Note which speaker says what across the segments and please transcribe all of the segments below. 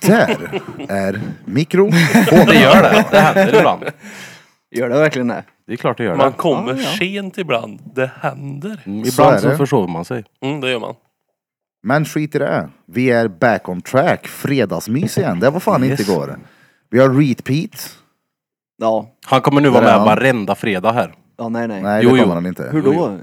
Speaker 1: Där är mikro.
Speaker 2: Det gör det. Det händer ibland.
Speaker 3: Gör det verkligen det?
Speaker 2: Det är klart det gör
Speaker 4: Man
Speaker 2: det.
Speaker 4: kommer
Speaker 3: Ja, ja.
Speaker 4: sent ibland. Det händer.
Speaker 1: Så är
Speaker 2: Ibland så
Speaker 1: det.
Speaker 2: försover man sig.
Speaker 4: Mm, det gör man.
Speaker 1: Men skit i det. Vi är back on track. Fredagsmys igen. Det var fan
Speaker 2: Yes.
Speaker 1: inte igår. Vi har repeat.
Speaker 3: Ja.
Speaker 2: Han kommer nu vara
Speaker 1: Där är
Speaker 2: med
Speaker 1: han.
Speaker 2: varenda fredag här.
Speaker 3: Ja, nej, nej.
Speaker 1: Nej,
Speaker 2: Jo,
Speaker 1: det
Speaker 2: jo.
Speaker 1: kommer han inte.
Speaker 3: Hur då?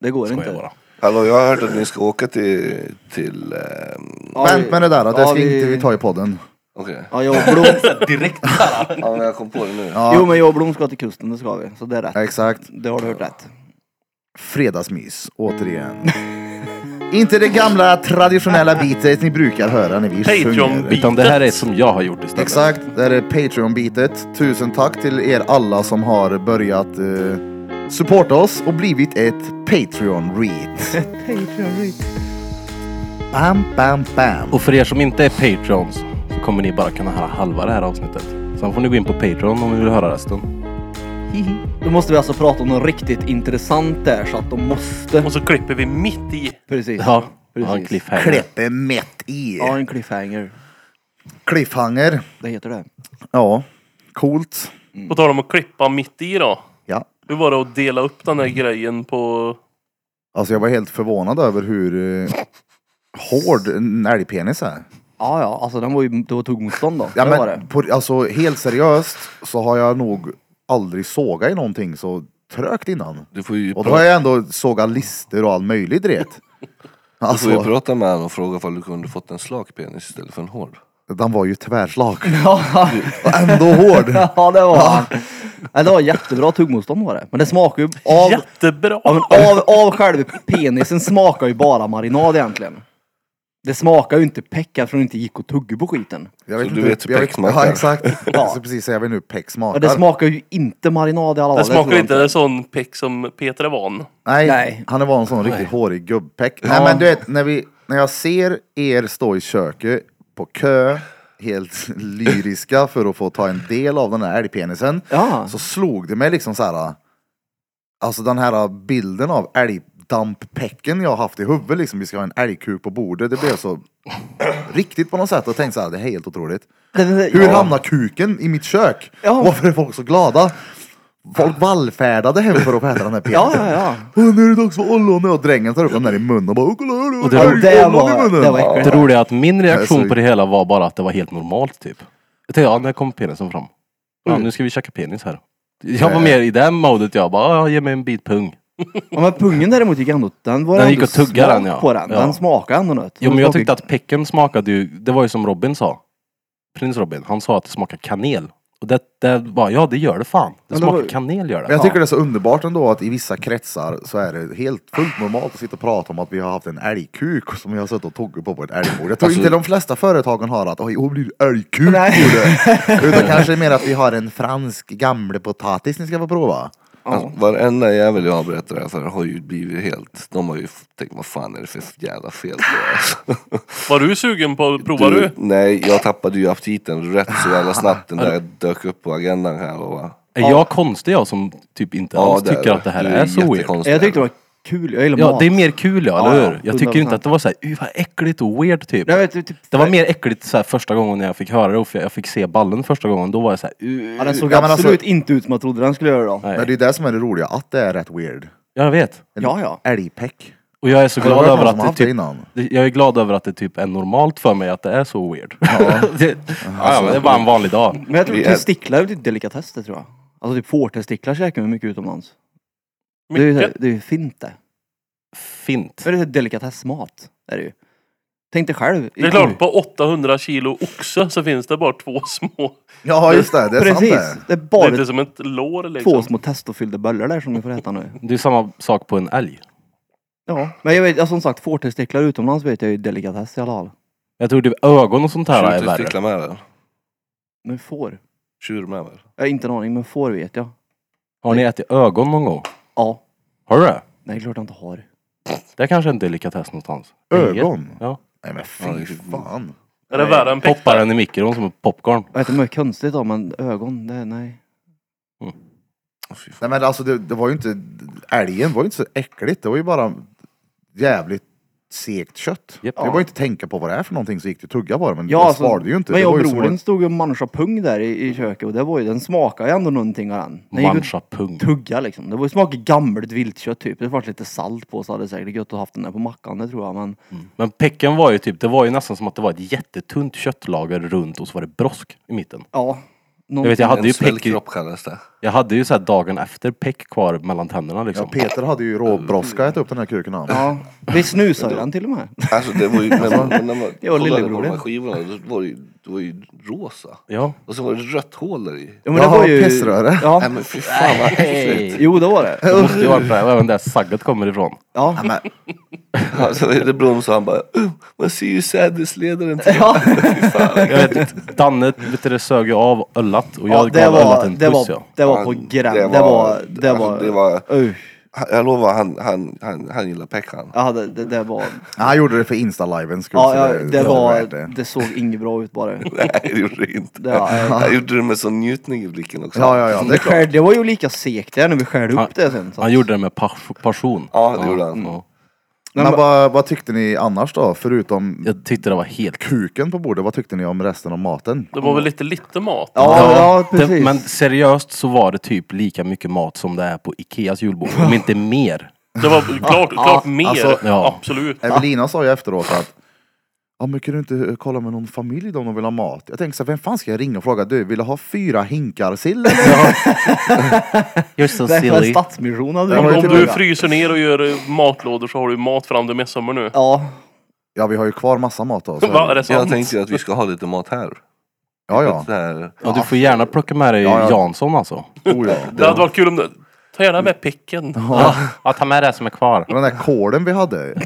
Speaker 3: Det går
Speaker 2: Skojar
Speaker 3: inte.
Speaker 2: bara.
Speaker 5: Hallå, jag har hört att ni ska åka till... till ehm,
Speaker 3: Ja,
Speaker 1: Vänt med det där. då. Det
Speaker 3: ja,
Speaker 1: ska inte vi ta i podden.
Speaker 5: Okej.
Speaker 3: Ja, jag och Blom,
Speaker 2: Direkt.
Speaker 5: Ja, men jag kom på det nu.
Speaker 1: Ja.
Speaker 3: jo, men jag och Blom ska till kusten, det ska vi. Så det är rätt.
Speaker 1: Exakt.
Speaker 3: Det har du hört rätt.
Speaker 1: Fredagsmys. Återigen. inte det gamla traditionella bitet ni brukar höra när vi sjunger.
Speaker 4: Patreon-beat.
Speaker 2: Utan det här är som jag har gjort istället.
Speaker 1: Exakt, det här är Patreon-bitet. Tusen tack till er alla som har börjat eh, supporta oss och blivit ett Patreon-reat. Bam, bam, bam.
Speaker 2: Och för er som inte är Patreons så kommer ni bara kunna höra halva det här avsnittet. Sen får ni gå in på Patreon om ni vill höra resten.
Speaker 3: Då måste vi alltså prata om något riktigt intressant där så att de måste.
Speaker 4: Och så klipper vi mitt i.
Speaker 3: Precis.
Speaker 2: Ja,
Speaker 3: precis.
Speaker 2: ja en cliffhanger.
Speaker 1: Kläppe mätt i.
Speaker 3: Ja, en cliffhanger.
Speaker 1: Cliffhanger.
Speaker 3: Det heter det.
Speaker 1: Ja, coolt.
Speaker 4: På tal om att klippa mitt i då.
Speaker 1: Ja.
Speaker 4: Hur var det att dela upp den här grejen på...
Speaker 1: Alltså jag var helt förvånad över hur eh, hård en älgpenis är.
Speaker 3: Ja, ja, alltså den var ju, det var tuggmotstånd då.
Speaker 1: Ja,
Speaker 3: det var
Speaker 1: men
Speaker 3: det.
Speaker 1: på, alltså helt seriöst så har jag nog aldrig sågat i någonting så trögt innan.
Speaker 5: Du får ju,
Speaker 1: Och då har
Speaker 5: pra-
Speaker 1: jag ändå sågat lister och all möjlig dret.
Speaker 5: du får ju
Speaker 1: Alltså,
Speaker 5: prata med honom och fråga om du kunde fått en slak penis istället för en hård.
Speaker 1: den var ju tvärslak.
Speaker 3: Ja,
Speaker 1: Och ändå hård.
Speaker 3: ja, det var han. ja, det var jättebra tuggmotstånd var det. Men det smakar ju av,
Speaker 4: Jättebra!
Speaker 3: ja, men av, av själva penisen smakar ju bara marinad egentligen. Det smakar ju inte peck eftersom det inte gick att tugga på skiten.
Speaker 1: Jag
Speaker 5: Så du vet hur
Speaker 1: jag
Speaker 5: peck smakar.
Speaker 1: Ja exakt. Jag ska precis säga vi nu peck
Speaker 3: Ja,
Speaker 1: smakar.
Speaker 3: det smakar ju inte marinad i alla fall.
Speaker 4: det
Speaker 3: tror
Speaker 4: smakar
Speaker 3: jag
Speaker 4: inte en sån pick som Peter är van.
Speaker 1: Nej,
Speaker 3: Nej.
Speaker 1: han är bara en sån riktigt hårig gubbpeck. Nej
Speaker 3: Ja.
Speaker 1: men du vet när, vi, när jag ser er stå i köket på kö helt lyriska för att få ta en del av den här älgpenisen.
Speaker 3: Ja.
Speaker 1: Så slog det mig liksom så här. Alltså den här bilden av älgdamppecken jag har haft i huvudet liksom. Vi ska ha en älgkuk på bordet. Det blev så riktigt på något sätt. Och tänkte så här, det är helt otroligt.
Speaker 3: Det- det-
Speaker 1: Hur
Speaker 3: ja.
Speaker 1: hamnar kuken i mitt kök?
Speaker 3: Ja.
Speaker 1: Varför är folk så glada? Folk vallfärdade hem för att få äta den här penisen.
Speaker 3: Ja, ja, ja.
Speaker 1: Åh, nu är det dags för ollon och drängen tar upp den där i munnen och bara "Åh, kolla här,
Speaker 2: Och
Speaker 1: det
Speaker 2: det-
Speaker 1: är
Speaker 3: Och det
Speaker 1: ollon i
Speaker 3: var,
Speaker 1: munnen.
Speaker 3: det var
Speaker 2: Det
Speaker 3: äckligt.
Speaker 2: roliga är att min
Speaker 1: Alltså-
Speaker 2: reaktion på det hela var bara att det var helt normalt typ. Jag tänkte, ja när kom penisen fram? Ja, nu ska vi checka penis här. Jag var mer i det modet jag bara, ja, ge mig en bit pung.
Speaker 3: Ja, men pungen däremot gick ändå... Den var
Speaker 2: Den
Speaker 3: ändå
Speaker 2: gick att tugga
Speaker 3: smak
Speaker 2: den, ja.
Speaker 3: På den.
Speaker 2: Ja.
Speaker 3: den smakade ändå något.
Speaker 2: Jo
Speaker 3: Den
Speaker 2: men jag
Speaker 3: smakade-
Speaker 2: tyckte att pecken smakade ju, det var ju som Robin sa. Prins Robin, han sa att det smakar kanel. Och det, det var, ja det gör det fan. Det
Speaker 3: det
Speaker 2: smakar
Speaker 3: var-
Speaker 2: kanel gör det.
Speaker 1: Men jag tycker det är så underbart ändå att i vissa kretsar så är det helt fullt normalt att sitta och prata om att vi har haft en älgkuk som vi har suttit och tuggat på på ett älgbord. Jag tror inte de flesta företagen har att oj, hon blir älgkuk på det. Utan kanske mer att vi har en fransk gamlepotatis ni ska få prova.
Speaker 5: Alltså, varenda jävel jag har berättat det här för har ju blivit helt... De har ju f- tänkt, vad fan är det för jävla fel på det alltså.
Speaker 4: Var du sugen på att prova du?
Speaker 5: Nej, jag tappade ju aptiten rätt så jävla snabbt den där dök upp på agendan här och va.
Speaker 2: Är jag konstig jag som typ inte alls tycker att det här
Speaker 5: du
Speaker 2: är så weird?
Speaker 5: jättekonstig.
Speaker 3: Jag tyckte det var kul. Jag gillar
Speaker 2: Ja
Speaker 3: mat.
Speaker 2: det är mer kul ja,
Speaker 3: Ja,
Speaker 2: eller
Speaker 3: ja.
Speaker 2: hur? Jag tycker ju inte
Speaker 3: 100%.
Speaker 2: att det var såhär, uh vad äckligt och weird typ.
Speaker 3: Nej, vet du, typ,
Speaker 2: Det var mer äckligt så här, första gången när jag fick höra det och för jag fick se ballen första gången. Då var jag såhär, uh,
Speaker 3: Ja, den såg
Speaker 1: Ja, men
Speaker 3: absolut
Speaker 1: alltså-
Speaker 3: inte ut som jag trodde den skulle göra då.
Speaker 2: Nej.
Speaker 1: Men det är det som är det roliga, att det är rätt weird.
Speaker 2: jag vet.
Speaker 3: Ja, ja.
Speaker 1: Älgpeck.
Speaker 2: Och jag är så
Speaker 1: Har det
Speaker 2: glad
Speaker 1: varit
Speaker 2: över
Speaker 1: någon som har
Speaker 2: att det
Speaker 1: haft det
Speaker 2: typ,
Speaker 1: innan?
Speaker 2: det- jag är glad över att det typ är normalt för mig att det är så weird. Ja, det, ja, men det är bara en vanlig dag.
Speaker 3: Men jag tror
Speaker 5: Vi är-
Speaker 3: testiklar är väl ett delikatess det tror jag. Alltså typ fårtestiklar käkar vi mycket utomlands. Det är ju
Speaker 4: Mycket.
Speaker 3: så- det är ju fint det.
Speaker 2: Fint.
Speaker 3: Men det är så här delikatessmat. Är det ju. Tänk dig själv.
Speaker 4: Det är klart, på 800 kilo oxe så finns det bara två små.
Speaker 1: Ja just det, det är
Speaker 3: Precis.
Speaker 1: sant
Speaker 3: Det är
Speaker 4: Det är
Speaker 3: bara
Speaker 4: inte som ett lår
Speaker 3: två
Speaker 4: liksom.
Speaker 3: små testofyllda böllor där som ni får äta nu.
Speaker 2: Det är samma sak på en älg.
Speaker 3: Ja. Men jag vet, alltså, som sagt fårtestiklar utomlands vet jag är ju delikatess i alla fall.
Speaker 2: Jag tror typ ögon och sånt här är
Speaker 5: Tjur
Speaker 2: värre.
Speaker 5: testiklar med väl?
Speaker 3: Men får?
Speaker 5: Tjur med väl?
Speaker 3: Jag har inte en aning men får vet jag.
Speaker 2: Har ni ätit ögon någon gång?
Speaker 3: Ja.
Speaker 2: Har du det?
Speaker 3: Nej klart jag inte har.
Speaker 2: Det kanske är en delikatess någonstans.
Speaker 1: det. Ögon.
Speaker 2: Ja.
Speaker 1: Nej men
Speaker 5: Ja, det är
Speaker 1: fy
Speaker 5: ju-
Speaker 1: fan.
Speaker 4: Är det värre än
Speaker 2: Poppar
Speaker 4: Petter?
Speaker 2: den i mikron som en popcorn.
Speaker 3: Jag vet inte, men konstigt då men ögon, det, nej.
Speaker 1: Nej men alltså det, det var ju inte, älgen var ju inte så äckligt. Det var ju bara jävligt segt kött.
Speaker 2: Japp.
Speaker 1: Det var ju inte tänka på vad det är för någonting så gick det att tugga på det men
Speaker 3: Ja,
Speaker 1: det
Speaker 3: alltså,
Speaker 1: svalde ju inte.
Speaker 3: Men
Speaker 1: det
Speaker 3: jag och
Speaker 1: var ju som
Speaker 3: brodern
Speaker 1: att-
Speaker 3: stod ju och manchade pung där i, i köket och det var ju, den smakade ju ändå någonting av den. Den gick
Speaker 2: Mancha
Speaker 3: att
Speaker 2: pung.
Speaker 3: tugga liksom. Det var ju smak av gammalt viltkött typ. Det var lite salt på så hade det säkert gött att haft den där på mackan, det tror jag. Men
Speaker 2: Men pecken var ju typ, det var ju nästan som att det var ett jättetunt köttlager runt och så var det brosk i mitten.
Speaker 3: ja.
Speaker 2: Jag vet, jag
Speaker 3: Mm,
Speaker 2: hade ju
Speaker 5: En sväll
Speaker 2: peck, i-
Speaker 5: kropp kallas det.
Speaker 2: jag hade ju så här dagen efter peck kvar mellan tänderna
Speaker 1: Ja,
Speaker 2: liksom.
Speaker 1: Peter hade ju råbrådska ätit upp den här kuken han.
Speaker 3: Ja, vi snusade ju den till och med.
Speaker 5: Alltså det var ju... När man, när man
Speaker 3: Det var
Speaker 5: kollade på
Speaker 3: lillebror
Speaker 5: de här
Speaker 3: det.
Speaker 5: skivorna, då var det ju, det var ju rosa.
Speaker 2: Ja.
Speaker 5: Och så var det rött hål där i.
Speaker 3: Ja, men
Speaker 1: Jaha,
Speaker 3: det var ju...
Speaker 1: pissröre.
Speaker 5: Nej
Speaker 3: Ja,
Speaker 5: men fy fan vad äckligt.
Speaker 3: jo det var det.
Speaker 2: Det måste ju varit där, även där sagget kommer ifrån.
Speaker 3: Ja.
Speaker 1: Men,
Speaker 5: Alltså lillebror sa han bara, "Uh, man ser ju sädesledaren till.
Speaker 3: Ja,
Speaker 2: Jag vet, Danne vet du, det sög ju av öllat och
Speaker 3: ja
Speaker 2: jag
Speaker 3: det
Speaker 2: gav öllat
Speaker 3: var,
Speaker 2: en
Speaker 3: det
Speaker 2: puss ja.
Speaker 3: var, det var på
Speaker 5: Ja,
Speaker 3: gräns.
Speaker 5: det
Speaker 3: Det var, det var,
Speaker 5: alltså, det var-
Speaker 3: Usch.
Speaker 5: Jag lovar han, han, han, han gillar Pekkan.
Speaker 3: Ja, det, det, det var,
Speaker 1: han gjorde det för Insta-livens skull.
Speaker 3: ja,
Speaker 1: så
Speaker 3: ja,
Speaker 1: det
Speaker 3: det
Speaker 1: var
Speaker 3: var,
Speaker 1: värt det.
Speaker 3: det såg inget bra ut bara.
Speaker 5: Nej det gjorde det inte.
Speaker 3: Det var, eh,
Speaker 5: Han gjorde det med sån njutning i blicken också.
Speaker 1: Ja, ja, ja. Det är klart.
Speaker 3: Skär, det var ju lika segt där när vi skärde
Speaker 2: Han-
Speaker 3: upp det sen. Så.
Speaker 2: Han gjorde det med pas- passion.
Speaker 5: Ja, det gjorde han.
Speaker 4: Mm.
Speaker 2: ja.
Speaker 3: Nej,
Speaker 1: Men
Speaker 3: men-
Speaker 1: vad, vad tyckte ni annars då? Förutom
Speaker 2: Jag tyckte det var helt
Speaker 1: kuken på bordet, vad tyckte ni om resten av maten?
Speaker 4: Det var väl lite lite mat?
Speaker 3: ja, ja,
Speaker 2: det-
Speaker 3: precis.
Speaker 2: men seriöst så var det typ lika mycket mat som det är på Ikeas julbord, om inte mer.
Speaker 4: Det var klart, klart mer.
Speaker 1: alltså,
Speaker 2: ja.
Speaker 4: Absolut.
Speaker 1: Evelina sa ju efteråt att Ja men kan du inte kolla med någon familj då om de vill ha mat? Jag tänkte såhär, vem fan ska jag ringa och fråga? Du, vill du ha fyra hinkar sill eller?
Speaker 2: You're so
Speaker 3: det var en
Speaker 2: silly.
Speaker 3: stadsmission hade
Speaker 1: Ja,
Speaker 4: Om,
Speaker 1: men-
Speaker 3: vi.
Speaker 4: om du fryser ner och gör eh, matlådor så har du ju mat fram till midsommar nu.
Speaker 3: Ja,
Speaker 1: Ja vi har ju kvar massa mat då. Så...
Speaker 4: Va, är det
Speaker 5: Jag
Speaker 4: sant?
Speaker 5: tänkte ju att vi ska ha lite mat här.
Speaker 1: Ja ja.
Speaker 5: Så här.
Speaker 2: Ja, du får gärna plocka med dig
Speaker 1: Ja, ja.
Speaker 2: Jansson alltså.
Speaker 1: Oh, ja.
Speaker 4: Det hade varit kul om du... Ta gärna med picken.
Speaker 2: Ja, ta med det som är kvar.
Speaker 1: Den där kålen vi hade.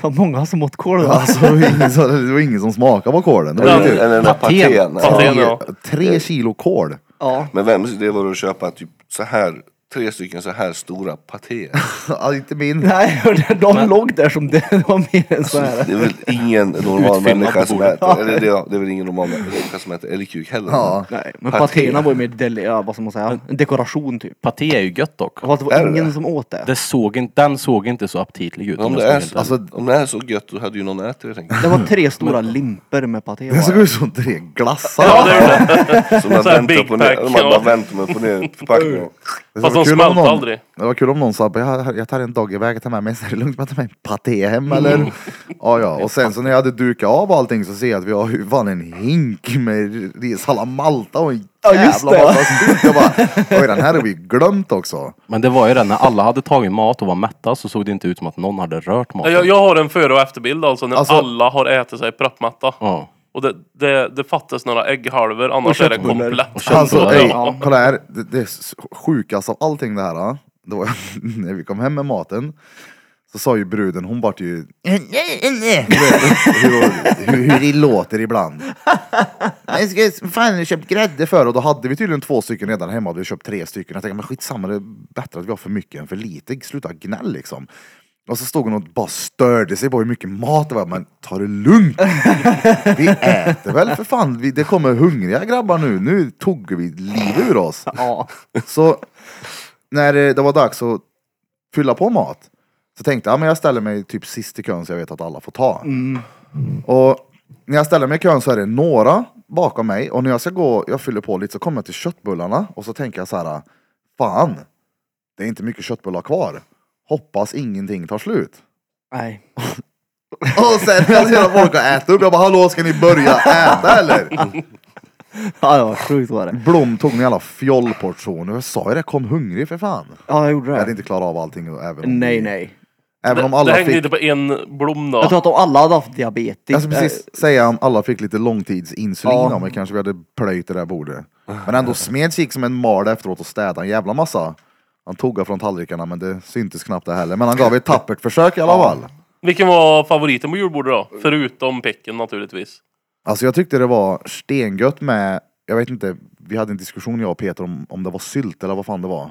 Speaker 3: vad många som åt kål då.
Speaker 1: Alltså ingen, så- det var ingen som smakade på kålen. Det var ju
Speaker 5: Eller,
Speaker 1: typ
Speaker 5: eller den där
Speaker 2: Patén.
Speaker 5: patén.
Speaker 4: Patén.
Speaker 5: Ja.
Speaker 4: den, ja.
Speaker 1: tre, tre kilo kål.
Speaker 3: Ja,
Speaker 5: Men vems idé var det att köpa typ så här, tre stycken så här stora patéer?
Speaker 1: Ja, inte min.
Speaker 3: nej, hörde, de låg där som det det var mer än så här.
Speaker 5: Det är väl ingen normal
Speaker 2: på
Speaker 5: människa som
Speaker 2: bordet.
Speaker 5: äter, eller det, ja, det är väl ingen normal människa som äter älgkuk heller.
Speaker 1: Ja.
Speaker 3: Nej, men
Speaker 5: Paté.
Speaker 3: patéerna var ju mer deli, ja, vad ska man säga, en dekoration typ.
Speaker 2: Paté är ju gött dock.
Speaker 3: Och att det
Speaker 5: Är
Speaker 3: var
Speaker 5: det
Speaker 3: ingen
Speaker 5: det?
Speaker 3: som åt det.
Speaker 2: Det såg inte, den såg inte så aptitlig ut.
Speaker 5: Men Om
Speaker 2: jag
Speaker 5: det,
Speaker 2: ska
Speaker 5: är,
Speaker 2: vara helt
Speaker 5: så-
Speaker 2: ärlig.
Speaker 5: alltså, om det är så gött då hade ju någon ätit det tänker
Speaker 3: Det var tre stora limper med paté
Speaker 1: Det såg
Speaker 3: bara.
Speaker 1: ut som tre glassar.
Speaker 4: Ja, det är det.
Speaker 5: jag. Som man
Speaker 4: Så här
Speaker 5: väntar
Speaker 4: Big
Speaker 5: på ner,
Speaker 4: Pack,
Speaker 5: man bara
Speaker 4: ja.
Speaker 5: väntar med på ner förpackningen.
Speaker 1: Det
Speaker 4: Fast
Speaker 1: var
Speaker 4: de
Speaker 1: kul om
Speaker 4: smälter
Speaker 1: någon-
Speaker 4: aldrig.
Speaker 1: Det var kul om någon sa jag, jag tar en doggybag, jag tar med mig, så är det lugnt om jag tar med en paté hem eller?
Speaker 4: Mm.
Speaker 1: Ja, ja, och sen så när jag hade dukat av allting så ser jag att vi har ju fan en hink med risalla Malta och en
Speaker 3: Ja, just det.
Speaker 1: massa sylt. Jag bara, oj den här har vi glömt också.
Speaker 2: Men det var ju det, när alla hade tagit mat och var mätta så såg det inte ut som att någon hade rört maten.
Speaker 4: Jag, jag har en före och efterbild alltså när
Speaker 1: Alltså-
Speaker 4: alla har ätit sig proppmatta.
Speaker 2: Ja.
Speaker 4: Och det, det, det fattas några ägghalvor annars
Speaker 3: Och
Speaker 4: är det
Speaker 3: köttbullar.
Speaker 4: komplett.
Speaker 2: Och köttbullar.
Speaker 1: Alltså,
Speaker 2: Ja.
Speaker 1: ey, kolla här, det, det är s- sjukast av allting det här. ja. Det var när vi kom hem med maten. Så sa ju bruden, hon vart ju... Du vet, hur, hur, hur det låter ibland. Jag ska fan jag har köpt grädde för och då hade vi tydligen två stycken redan hemma och vi har köpt tre stycken. Jag tänkte men skitsamma det är bättre att vi har för mycket än för lite. Sluta gnäll liksom. Och så stod hon och bara störde sig på hur mycket mat det var. Men ta det lugnt! Vi äter väl för fan. Vi, det kommer hungriga grabbar nu. Nu tog vi liv ur oss.
Speaker 3: Ja,
Speaker 1: Så när eh, det var dags att fylla på mat så tänkte jag, ja, men jag ställer mig typ sist i kön så jag vet att alla får ta. Och när jag ställer mig i kön så är det några bakom mig och när jag ska gå, jag fyller på lite så kommer jag till köttbullarna och så tänker jag så här, fan, det är inte mycket köttbullar kvar. Hoppas ingenting tar slut.
Speaker 3: nej.
Speaker 1: Och sen när jag ser att folk har ätit upp, jag bara hallå ska ni börja äta eller?
Speaker 3: Ja, det var sjukt var det.
Speaker 1: Blom tog en jävla fjollportion och jag sa ju det, kom hungrig för fan.
Speaker 3: Ja, jag gjorde
Speaker 1: Jag hade
Speaker 3: det.
Speaker 1: inte klarat av allting och även om,
Speaker 3: Nej, nej.
Speaker 1: Även om
Speaker 4: Det, det
Speaker 1: alla
Speaker 4: hängde
Speaker 1: fick,
Speaker 4: inte på en blom
Speaker 3: Jag tror
Speaker 4: då.
Speaker 3: att de alla hade haft diabetes. Eh,
Speaker 1: jag ska Alltså, precis säga om alla fick lite långtidsinsulin
Speaker 3: Ja.
Speaker 1: om det kanske vi hade plöjt det där bordet. Men ändå Smeds gick som en mal efteråt och städade en jävla massa. Han tog från tallrikarna men det syntes knappt det heller. Men han gav ett tappert försök i alla fall.
Speaker 4: Vilken var favoriten på julbordet då? Förutom picken naturligtvis.
Speaker 1: Alltså jag tyckte det var stengött med, jag vet inte, vi hade en diskussion jag och Peter om, om det var sylt eller vad fan det var.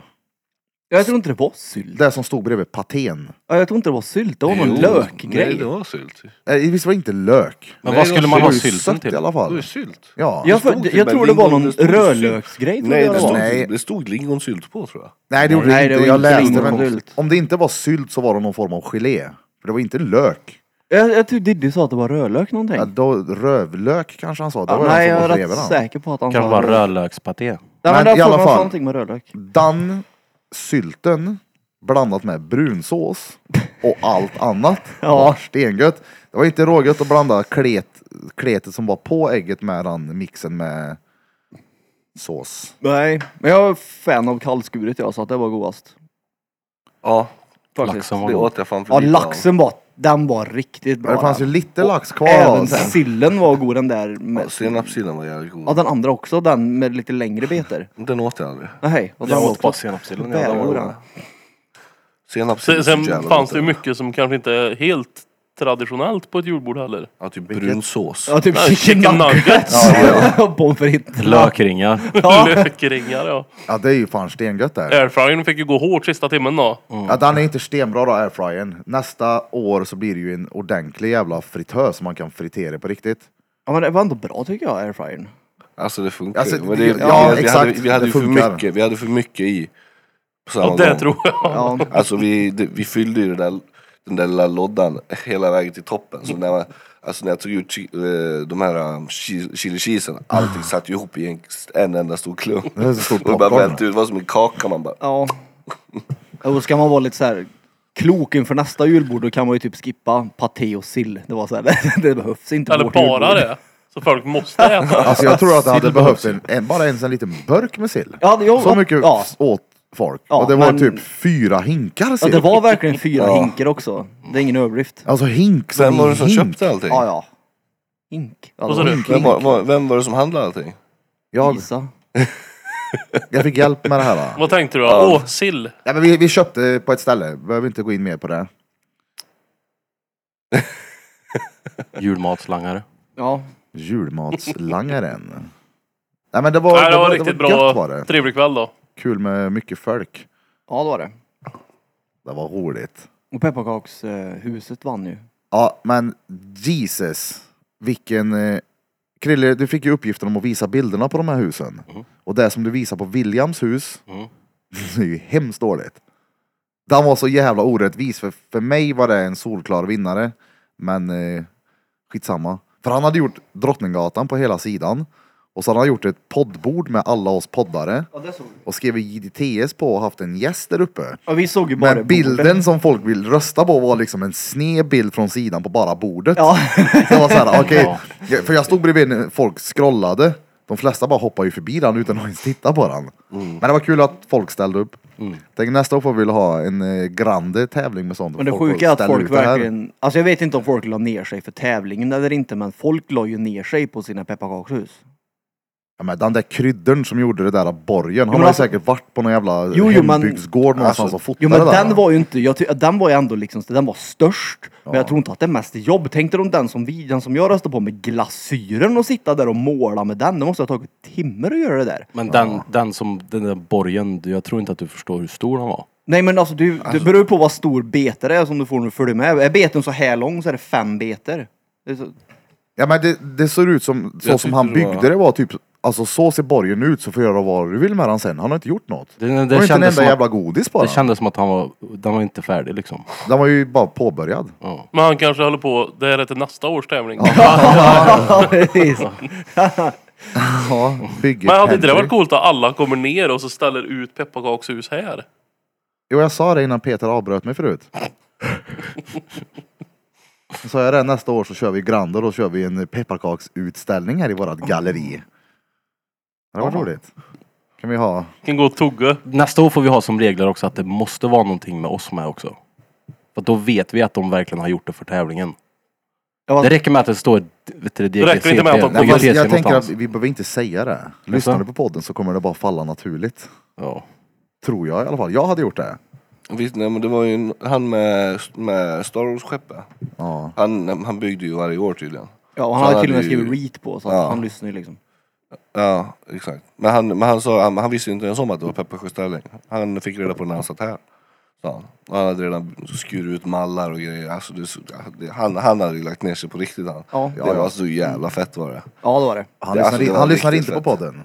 Speaker 3: Jag tror inte det var sylt.
Speaker 1: Det som stod bredvid patén.
Speaker 3: Ja, jag tror inte det var sylt. Det var någon
Speaker 5: Jo, Nej
Speaker 3: lökgrej.
Speaker 5: det var sylt. Det
Speaker 1: Nej, Eh, Visst var det inte lök?
Speaker 2: Men
Speaker 5: Nej,
Speaker 2: vad
Speaker 5: det
Speaker 2: skulle
Speaker 5: var
Speaker 2: man ha
Speaker 1: det var ju
Speaker 2: sylten
Speaker 1: sött i
Speaker 2: till?
Speaker 1: alla
Speaker 5: var ju
Speaker 1: fall.
Speaker 5: sylt.
Speaker 1: Ja.
Speaker 3: Jag,
Speaker 5: Det
Speaker 3: för,
Speaker 5: stod
Speaker 3: jag,
Speaker 5: typ en
Speaker 3: tror det var
Speaker 5: lingon,
Speaker 3: någon
Speaker 5: det stod
Speaker 3: rödlöksgrej. tror
Speaker 5: Nej
Speaker 3: jag
Speaker 5: det stod,
Speaker 3: var.
Speaker 1: Nej.
Speaker 5: det stod lingonsylt på tror jag.
Speaker 1: Nej det gjorde
Speaker 3: Nej,
Speaker 1: det
Speaker 3: det
Speaker 1: inte,
Speaker 3: var
Speaker 1: jag
Speaker 3: inte
Speaker 1: läste
Speaker 3: lingon och
Speaker 1: men
Speaker 3: sylt.
Speaker 1: om det inte var sylt så var det någon form av gelé. För det var inte lök.
Speaker 3: Jag, jag tyckte Diddy sa att det var rödlök någonting.
Speaker 1: Ja, då, rövlök kanske han sa. Det var
Speaker 3: nej,
Speaker 1: han
Speaker 3: jag
Speaker 1: som var
Speaker 3: är rätt
Speaker 1: dreven han.
Speaker 3: säker på att han
Speaker 2: Kanske
Speaker 3: sa
Speaker 2: bara rödlökspaté.
Speaker 3: Nej, men,
Speaker 1: Men i alla
Speaker 3: jag har för mig
Speaker 1: fall.
Speaker 3: någonting med rödlök.
Speaker 1: Dan, sylten blandat med brunsås och allt annat.
Speaker 3: Ja.
Speaker 1: var Stengött. Det var inte rågött att blanda klet, kletet som var på ägget med den mixen med sås.
Speaker 3: Nej, men jag är fan av kallskuret jag, så att det var godast.
Speaker 5: Ja,
Speaker 3: Faktiskt.
Speaker 2: Laxen var
Speaker 5: det
Speaker 2: god.
Speaker 5: åt jag fan för
Speaker 3: Ja,
Speaker 5: lite av.
Speaker 3: laxen var, den var riktigt bra.
Speaker 1: Men det fanns ju
Speaker 3: den.
Speaker 1: lite lax kvar.
Speaker 3: Även
Speaker 1: alltså.
Speaker 3: sillen var god den där. Med,
Speaker 5: Ja, Senapssillen var jävligt god.
Speaker 3: ja, den andra också, den med lite längre beter.
Speaker 5: Den åt jag aldrig.
Speaker 3: Nej, och den
Speaker 2: Jag
Speaker 3: var
Speaker 2: åt bara
Speaker 3: också
Speaker 2: senapssillen. ja, den var god.
Speaker 3: bärgod den.
Speaker 5: Senapssillen
Speaker 4: Sen,
Speaker 5: är så
Speaker 4: sen
Speaker 5: jävla
Speaker 4: fanns
Speaker 5: gott.
Speaker 4: det ju mycket som kanske inte är helt traditionellt på ett julbord heller.
Speaker 5: Ja, typ brun sås.
Speaker 3: Ja, typ
Speaker 4: Nej, chicken nuggets.
Speaker 3: Ja, Pommes frites.
Speaker 2: Lökringar.
Speaker 4: Lökringar ja.
Speaker 1: Ja det är ju fan stengött där.
Speaker 4: Airfryern fick ju gå hårt sista timmen då.
Speaker 1: Ja, den är inte stenbra då airfryern. Nästa år så blir det ju en ordentlig jävla fritös som man kan fritera på riktigt.
Speaker 3: Ja, men det var ändå bra tycker jag, airfryern.
Speaker 5: Alltså det funkar
Speaker 1: Alltså,
Speaker 5: ju. Men
Speaker 1: det-
Speaker 5: det,
Speaker 1: ja,
Speaker 5: vi,
Speaker 1: exakt.
Speaker 5: hade, vi, hade
Speaker 1: Det
Speaker 5: ju för
Speaker 1: funkar.
Speaker 5: mycket, vi hade för mycket i. På samma
Speaker 4: Ja, det
Speaker 5: gång.
Speaker 4: tror jag.
Speaker 3: Ja.
Speaker 5: Alltså vi, det, vi fyllde ju den där, den där lilla loddan hela vägen till toppen. Så när, man, alltså när jag tog ut chi, eh, de här um, chi- chili cheesen, allting satt ju ihop i en, en enda stor klump.
Speaker 1: Det är så stort
Speaker 5: Och det bara
Speaker 1: popcorn.
Speaker 5: välte ut, det var som en kaka man bara. "Ah,
Speaker 3: Ja. Och då ska man vara lite så här klok inför nästa julbord, då kan man ju typ skippa paté och sill. Det var så här, det behövs inte på
Speaker 4: Eller
Speaker 3: vårt
Speaker 4: bara
Speaker 3: julbord.
Speaker 4: det. Så folk måste äta.
Speaker 1: Alltså jag tror att det hade
Speaker 2: Sill
Speaker 1: behövts en, en, bara ens en liten burk med sill.
Speaker 3: Ja, det- jo,
Speaker 1: så mycket
Speaker 3: ja.
Speaker 1: åt folk.
Speaker 3: Ja,
Speaker 1: och det var
Speaker 3: men-
Speaker 1: typ fyra hinkar
Speaker 3: Ja,
Speaker 1: sill.
Speaker 3: det var verkligen fyra
Speaker 5: Ja.
Speaker 3: hinkar också. Det är ingen överdrift.
Speaker 1: Alltså hink som
Speaker 5: Vem var det som
Speaker 1: hink.
Speaker 5: köpte allting?
Speaker 3: Ja, ja. Hink. Ja,
Speaker 4: Vad sa
Speaker 3: det var
Speaker 4: du?
Speaker 3: hink.
Speaker 5: Vem, var, var, vem var det som handlade allting?
Speaker 1: Jag,
Speaker 3: Isa.
Speaker 1: jag fick hjälp med det här. då.
Speaker 4: Vad tänkte du?
Speaker 5: Ja.
Speaker 4: Åh, sill.
Speaker 1: Nej, men vi, vi köpte på ett ställe, behöver inte gå in mer på det.
Speaker 2: Julmatslangare.
Speaker 3: Ja.
Speaker 1: Julmatslangaren. Nej men det var,
Speaker 4: Nej, det var
Speaker 1: det
Speaker 4: riktigt
Speaker 1: var gött
Speaker 4: bra.
Speaker 1: var det.
Speaker 4: Trevlig kväll då.
Speaker 1: Kul med mycket folk.
Speaker 3: ja, det var det.
Speaker 1: Det var roligt.
Speaker 3: Och pepparkakshuset vann ju.
Speaker 1: Ja, men Jesus. Vilken... Eh, Krille, du fick ju uppgiften om att visa bilderna på de här husen. Och det som du visar på Williams hus, det är ju hemskt dåligt. Den var så jävla orättvis, för för mig var det en solklar vinnare. Men eh, skitsamma. För han hade gjort Drottninggatan på hela sidan. Och så hade han gjort ett poddbord med alla oss poddare.
Speaker 3: Ja, det såg vi.
Speaker 1: Och skrivit JDTS på och haft en gäst där uppe.
Speaker 3: Ja, vi såg ju bara
Speaker 1: Men
Speaker 3: bordet.
Speaker 1: bilden som folk vill rösta på var liksom en sned bild från sidan på bara bordet.
Speaker 3: Ja.
Speaker 1: Så det var så här, okej.
Speaker 2: Ja.
Speaker 1: Jag- För jag stod bredvid när folk scrollade. De flesta bara hoppar ju förbi den utan att ens titta på den. Men det var kul att folk ställde upp. Tänk nästa år får vi väl ha en eh, grande tävling med sånt.
Speaker 3: Men det
Speaker 1: Folk får
Speaker 3: sjuka är att
Speaker 1: ställa
Speaker 3: folk
Speaker 1: ut det här.
Speaker 3: verkligen... Alltså jag vet inte om folk la ner sig för tävlingen eller inte, men folk la ju ner sig på sina pepparkakshus.
Speaker 1: Ja, men den där kryddern som gjorde det där borgen. Han
Speaker 3: men
Speaker 1: har ju
Speaker 3: alltså-
Speaker 1: säkert varit på någon jävla
Speaker 3: Jo, jo, men-
Speaker 1: hembygdsgård någonstans
Speaker 5: Alltså,
Speaker 1: och fotat
Speaker 3: Jo
Speaker 1: det
Speaker 3: men
Speaker 1: där.
Speaker 3: den var ju inte, jag ty- den var ju ändå liksom, den var störst. Men jag tror inte att det är mest jobb. Tänkte de den som vi, den som jag röstade på med glasyren och sitta där och måla med den. Det måste ha tagit timmar att göra det där.
Speaker 2: Men den, den som, den där borgen, jag tror inte att du förstår hur stor den var.
Speaker 3: Nej men alltså du, det beror ju på vad stor bete det är som du får när du följer med. Är beten så här lång så är det fem beter. Det är så-
Speaker 1: Ja men det, det ser ut som, så
Speaker 5: Jag
Speaker 1: som han
Speaker 5: tyckte det var-
Speaker 1: byggde det var typ, alltså så ser borgen ut så får du göra vad du vill med den sen. Han har inte gjort något.
Speaker 2: Det- det
Speaker 1: det var inte en
Speaker 2: kändes
Speaker 1: enda
Speaker 2: som att-
Speaker 1: jävla godis på
Speaker 2: Det
Speaker 1: den.
Speaker 2: kändes som att han var, den var inte färdig liksom.
Speaker 1: Den var ju bara påbörjad.
Speaker 2: Ja.
Speaker 4: Men han kanske håller på, det här är till nästa års tävling.
Speaker 3: Ja, precis.
Speaker 1: Ja, bygget
Speaker 4: Men hade inte
Speaker 1: händer.
Speaker 4: det varit coolt att alla kommer ner och så ställer ut pepparkakshus här?
Speaker 1: Jo jag sa det innan Peter avbröt mig förut. Sa jag det, nästa år så kör vi Grand och då kör vi en pepparkaksutställning här i vårat galleri. Det var roligt. Kan vi ha?
Speaker 4: Kan gå och tugga.
Speaker 2: Nästa år får vi ha som regler också att det måste vara någonting med oss med också. För då vet vi att de verkligen har gjort det för tävlingen.
Speaker 3: Ja,
Speaker 2: Det räcker med att det står vet du, DGCT,
Speaker 4: Det räcker inte med att de
Speaker 1: Nej,
Speaker 4: kommer-
Speaker 1: fast
Speaker 2: DGCT
Speaker 1: jag tänker att
Speaker 2: någonstans.
Speaker 1: vi behöver inte säga det. Lyssnar du på podden så kommer det bara falla naturligt.
Speaker 2: Ja.
Speaker 1: Tror jag i alla fall. Jag hade gjort det.
Speaker 5: Visst, nej, men det var ju en- han med, med Star Wars-skeppet.
Speaker 1: Ja.
Speaker 5: Han, han byggde ju varje år tydligen.
Speaker 3: ja och han
Speaker 5: Så
Speaker 3: hade
Speaker 5: hade
Speaker 3: till och med
Speaker 5: ju-
Speaker 3: skrivit reat på så att
Speaker 5: Ja.
Speaker 3: han lyssnar ju liksom.
Speaker 5: Ja, exakt. Men han, men han, sa, han, han visste ju inte ens om att det var pepparkaksställning. Han fick reda på det när han satt här. Sa han. Och han hade redan skurit ut mallar och grejer. Alltså, det, är så- det, han, han hade ju lagt ner sig på riktigt han.
Speaker 3: Ja.
Speaker 5: Det var så jävla fett var det.
Speaker 3: Ja det var det.
Speaker 1: Han,
Speaker 5: Det-
Speaker 1: lyssnar,
Speaker 5: alltså, det var
Speaker 1: han lyssnar
Speaker 5: riktigt
Speaker 1: inte på
Speaker 5: fett.
Speaker 1: podden.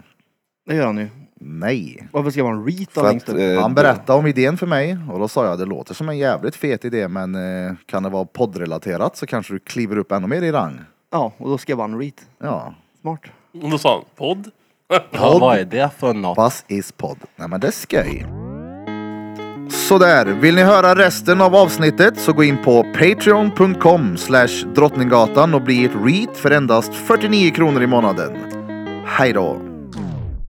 Speaker 3: Det gör han ju.
Speaker 1: Nej.
Speaker 3: Varför skrev han reet då
Speaker 5: För
Speaker 3: längst
Speaker 5: att,
Speaker 3: upp?
Speaker 5: eh,
Speaker 1: Han berättade om idén för mig och då sa jag det låter som en jävligt fet idé men eh, kan det vara poddrelaterat så kanske du kliver upp ännu mer i rang.
Speaker 3: Ja, och då skrev han reet.
Speaker 1: Ja.
Speaker 3: Smart.
Speaker 4: Och då sa han podd.
Speaker 2: Ja, vad är det för något?
Speaker 1: Bass is podd. Nej men det är skoj. Sådär, vill ni höra resten av avsnittet så gå in på patreon.com slash drottninggatan och bli ett read för endast 49 kronor i månaden. Hej då!